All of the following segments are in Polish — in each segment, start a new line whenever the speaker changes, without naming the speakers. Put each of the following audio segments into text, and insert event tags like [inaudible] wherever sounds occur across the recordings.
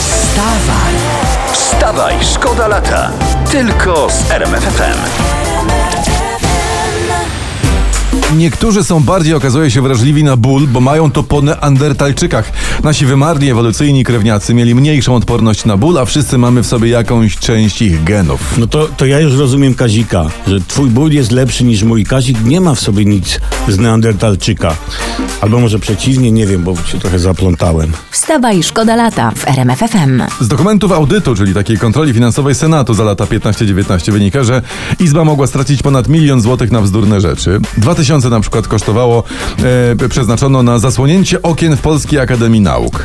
Wstawaj,
Wstawaj, szkoda lata. Tylko z RMFFM.
Niektórzy są bardziej, okazuje się, wrażliwi na ból, bo mają to po neandertalczykach. Nasi wymarli ewolucyjni krewniacy mieli mniejszą odporność na ból, a wszyscy mamy w sobie jakąś część ich genów.
No to, to ja już rozumiem Kazika, że twój ból jest lepszy niż mój. Kazik nie ma w sobie nic z Neandertalczyka. Albo może przeciwnie, nie wiem, bo się trochę zaplątałem.
Wstawaj, szkoda lata w RMFFM.
Z dokumentów audytu, czyli takiej kontroli finansowej Senatu za lata 15-19 wynika, że Izba mogła stracić ponad milion złotych na wzdurne rzeczy. 2000 na przykład kosztowało, e, przeznaczono na zasłonięcie okien w Polskiej Akademii Nauk.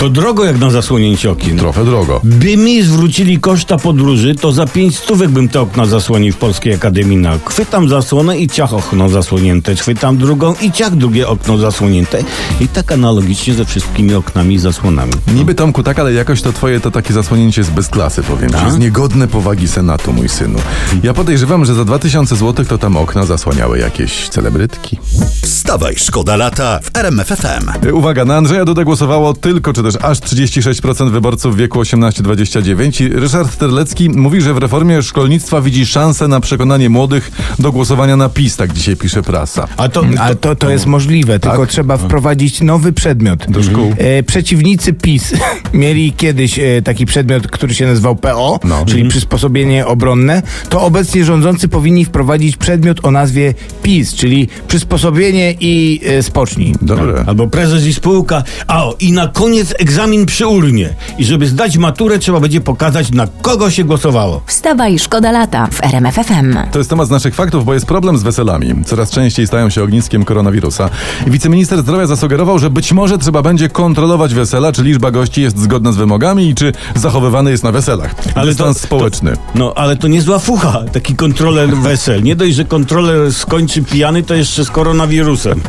To drogo jak na zasłonięcie okien.
Trochę drogo.
By mi zwrócili koszta podróży, to za pięć stówek bym te okna zasłonił w Polskiej Akademii Nauk. Chwytam zasłonę i ciach okno zasłonięte, chwytam drugą i ciach drugie okno zasłonięte. I tak analogicznie ze wszystkimi oknami i zasłonami.
Niby Tomku tak, ale jakoś to twoje to takie zasłonięcie jest bez klasy, powiem ci. Jest niegodne powagi Senatu, mój synu. Ja podejrzewam, że za 2000 zł to tam okna zasłaniały jakieś celebrytki.
Wstawaj, szkoda lata w RMFFM.
Y, Uwaga, na Andrzeja Dudę głosowało tylko, czy też aż 36% wyborców w wieku 18-29. I Ryszard Terlecki mówi, że w reformie szkolnictwa widzi szansę na przekonanie młodych do głosowania na PiS, tak dzisiaj pisze prasa.
A to,
Mm, Ale to, to jest możliwe, tylko trzeba wprowadzić nowy przedmiot.
Tak. Do szkół.
E, przeciwnicy PiS [laughs] mieli kiedyś e, taki przedmiot, który się nazywał PO,
No.
czyli przysposobienie obronne. To obecnie rządzący powinni wprowadzić przedmiot o nazwie PiS, czyli przysposobienie i e, spocznij.
Dobre.
Albo prezes i spółka. A o, i na koniec egzamin przy urnie. I żeby zdać maturę, trzeba będzie pokazać, na kogo się głosowało.
Wstawaj, szkoda lata w RMFFM.
To jest temat z naszych faktów, bo jest problem z weselami. Coraz częściej stają się ogniskiem koronawirusa. I Wiceminister zdrowia zasugerował, że być może trzeba będzie kontrolować wesela, czy liczba gości jest zgodna z wymogami i czy zachowywany jest na weselach. Ale Dystans społeczny.
To, no, ale to niezła fucha, taki kontroler
[laughs]
wesel. Nie dość, że kontroler skończy pijany, to jeszcze z
[laughs]
koronawirusem.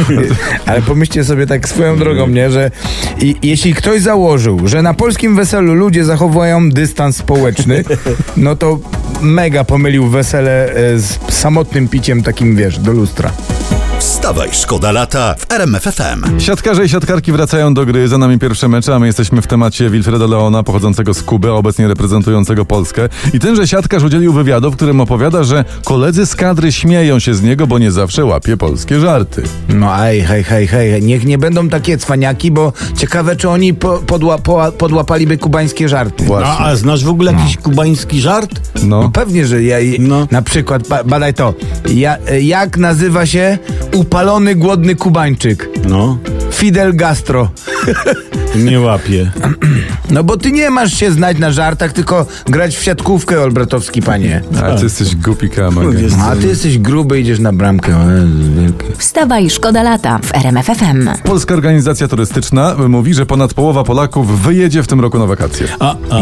[laughs] Ale pomyślcie sobie tak swoją drogą, nie, że i, jeśli ktoś założył, że na polskim weselu ludzie zachowują dystans społeczny, no to mega pomylił wesele e, z samotnym piciem takim, wiesz, do lustra.
Wstawaj, szkoda lata w RMFFM.
Siatkarze i siatkarki wracają do gry. Za nami pierwsze mecze, a my jesteśmy w temacie Wilfreda Leona, pochodzącego z Kuby, a obecnie reprezentującego Polskę. I tenże siatkarz udzielił wywiadu, w którym opowiada, że koledzy z kadry śmieją się z niego, bo nie zawsze łapie polskie żarty.
No aj, hej, hej, hej, niech nie będą takie cwaniaki, bo ciekawe, czy oni po, podła, poła- podłapaliby kubańskie żarty.
A, a znasz w ogóle jakiś kubański żart?
No.
No pewnie, że ja,
No.
na przykład, ba, badaj to, ja, e, jak nazywa się upalony, głodny kubańczyk?
No,
Fidel Gastro.
nie łapie.
No bo ty nie masz się znać na żartach, tylko grać w siatkówkę, Olbratowski, panie.
A ty jesteś głupi kamer.
A ty jesteś gruby, idziesz na bramkę. O Jezu, wielki.
Wstawaj, szkoda lata w RMFFM.
Polska Organizacja Turystyczna mówi, że ponad połowa Polaków wyjedzie w tym roku na wakacje.
A, a,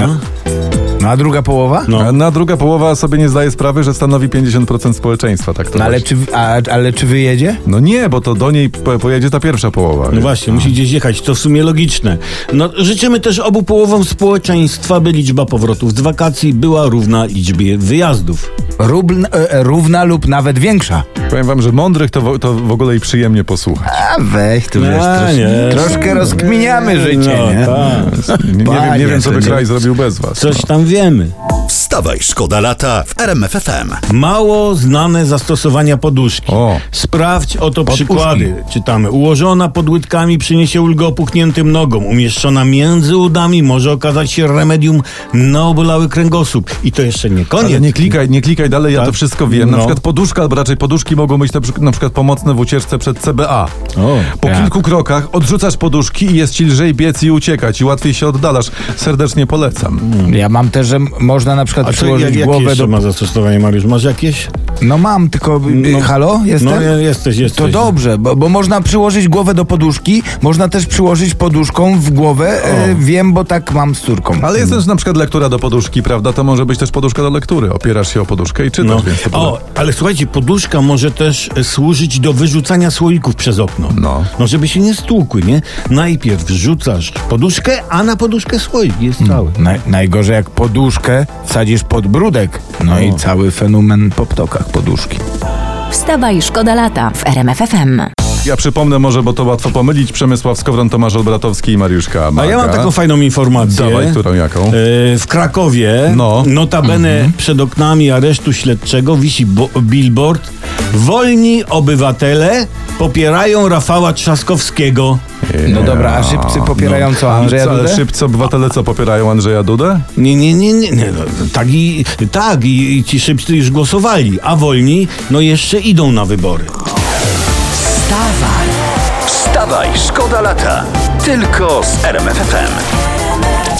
No a druga połowa?
No.
A na druga połowa sobie nie zdaje sprawy, że stanowi 50% społeczeństwa, tak to
No, ale,
właśnie.
czy, a, ale czy wyjedzie?
No nie, bo to do niej po- pojedzie ta pierwsza połowa.
no właśnie, musi gdzieś jechać, to w sumie logiczne. No, życzymy też obu połowom społeczeństwa, by liczba powrotów z wakacji była równa liczbie wyjazdów.
Rubl, e, e, równa lub nawet większa.
Powiem wam, że mądrych to, wo- to w ogóle i przyjemnie posłuchać.
[laughs] A weź, tu
No, nie.
troszkę rozkminiamy życie,
No,
nie?
tak.
Nie, nie, wiem, nie wiem, co by
Panie,
kraj zrobił bez was.
Coś tam wiemy.
Wstawaj, szkoda lata w RMFFM.
Mało znane zastosowania poduszki.
O.
Sprawdź oto
Poduszki.
przykłady. Czytamy. Ułożona pod łydkami przyniesie ulgę opuchniętym nogom. Umieszczona między udami może okazać się remedium na obolały kręgosłup. I to jeszcze nie
Ale
koniec.
nie klikaj, nie klikaj dalej, ja
Tak?
to wszystko wiem. Na
No.
przykład poduszka, albo raczej poduszki mogą być na, przy- na przykład pomocne w ucieczce przed CBA.
O,
po
tak.
kilku krokach odrzucasz poduszki i jest ci lżej biec i uciekać i łatwiej się oddalasz. Serdecznie polecam.
Ja mam też, że m- można na przykład
A co,
przyłożyć
jak, jakie
głowę
jeszcze
do...
ma zastosowanie, Mariusz? Masz jakieś?
No mam, tylko...
No.
No, halo, jestem?
No, je- jesteś, jesteś.
To dobrze, bo, bo można przyłożyć głowę do poduszki, można też przyłożyć poduszką w głowę. E, wiem, bo tak mam z córką.
Ale
Mhm.
jest też na przykład lektura do poduszki, prawda? To może być też poduszka do lektury. Opierasz się o poduszkę i czytasz,
No.
więc to
O, ale słuchajcie, poduszka może też e, służyć do wyrzucania słoików przez okno.
No.
No, żeby się nie stłukły, nie? Najpierw rzucasz poduszkę, a na poduszkę słoik
Mm.
jest cały.
Naj, najgorzej jak poduszkę wsadzisz pod brudek. No i cały fenomen po ptokach poduszki.
Wstawaj, szkoda lata w RMFFM.
Ja przypomnę może, bo to łatwo pomylić. Przemysław Skowron, Tomasz Olbratowski i Mariusz K.
A ja mam taką fajną informację.
Dawaj, którą, jaką?
E, W Krakowie,
No.
notabene przed oknami aresztu śledczego wisi bo- billboard Wolni obywatele popierają Rafała Trzaskowskiego.
No dobra, a szybcy popierają co, Andrzeja
Ale
Dudę?
szybcy obywatele co, popierają Andrzeja Dudę?
Nie, nie, nie, nie, nie. no, Tak, i, tak i, i ci szybcy już głosowali, a wolni no jeszcze idą na wybory.
Wstawaj, szkoda lata. Tylko z RMFFM.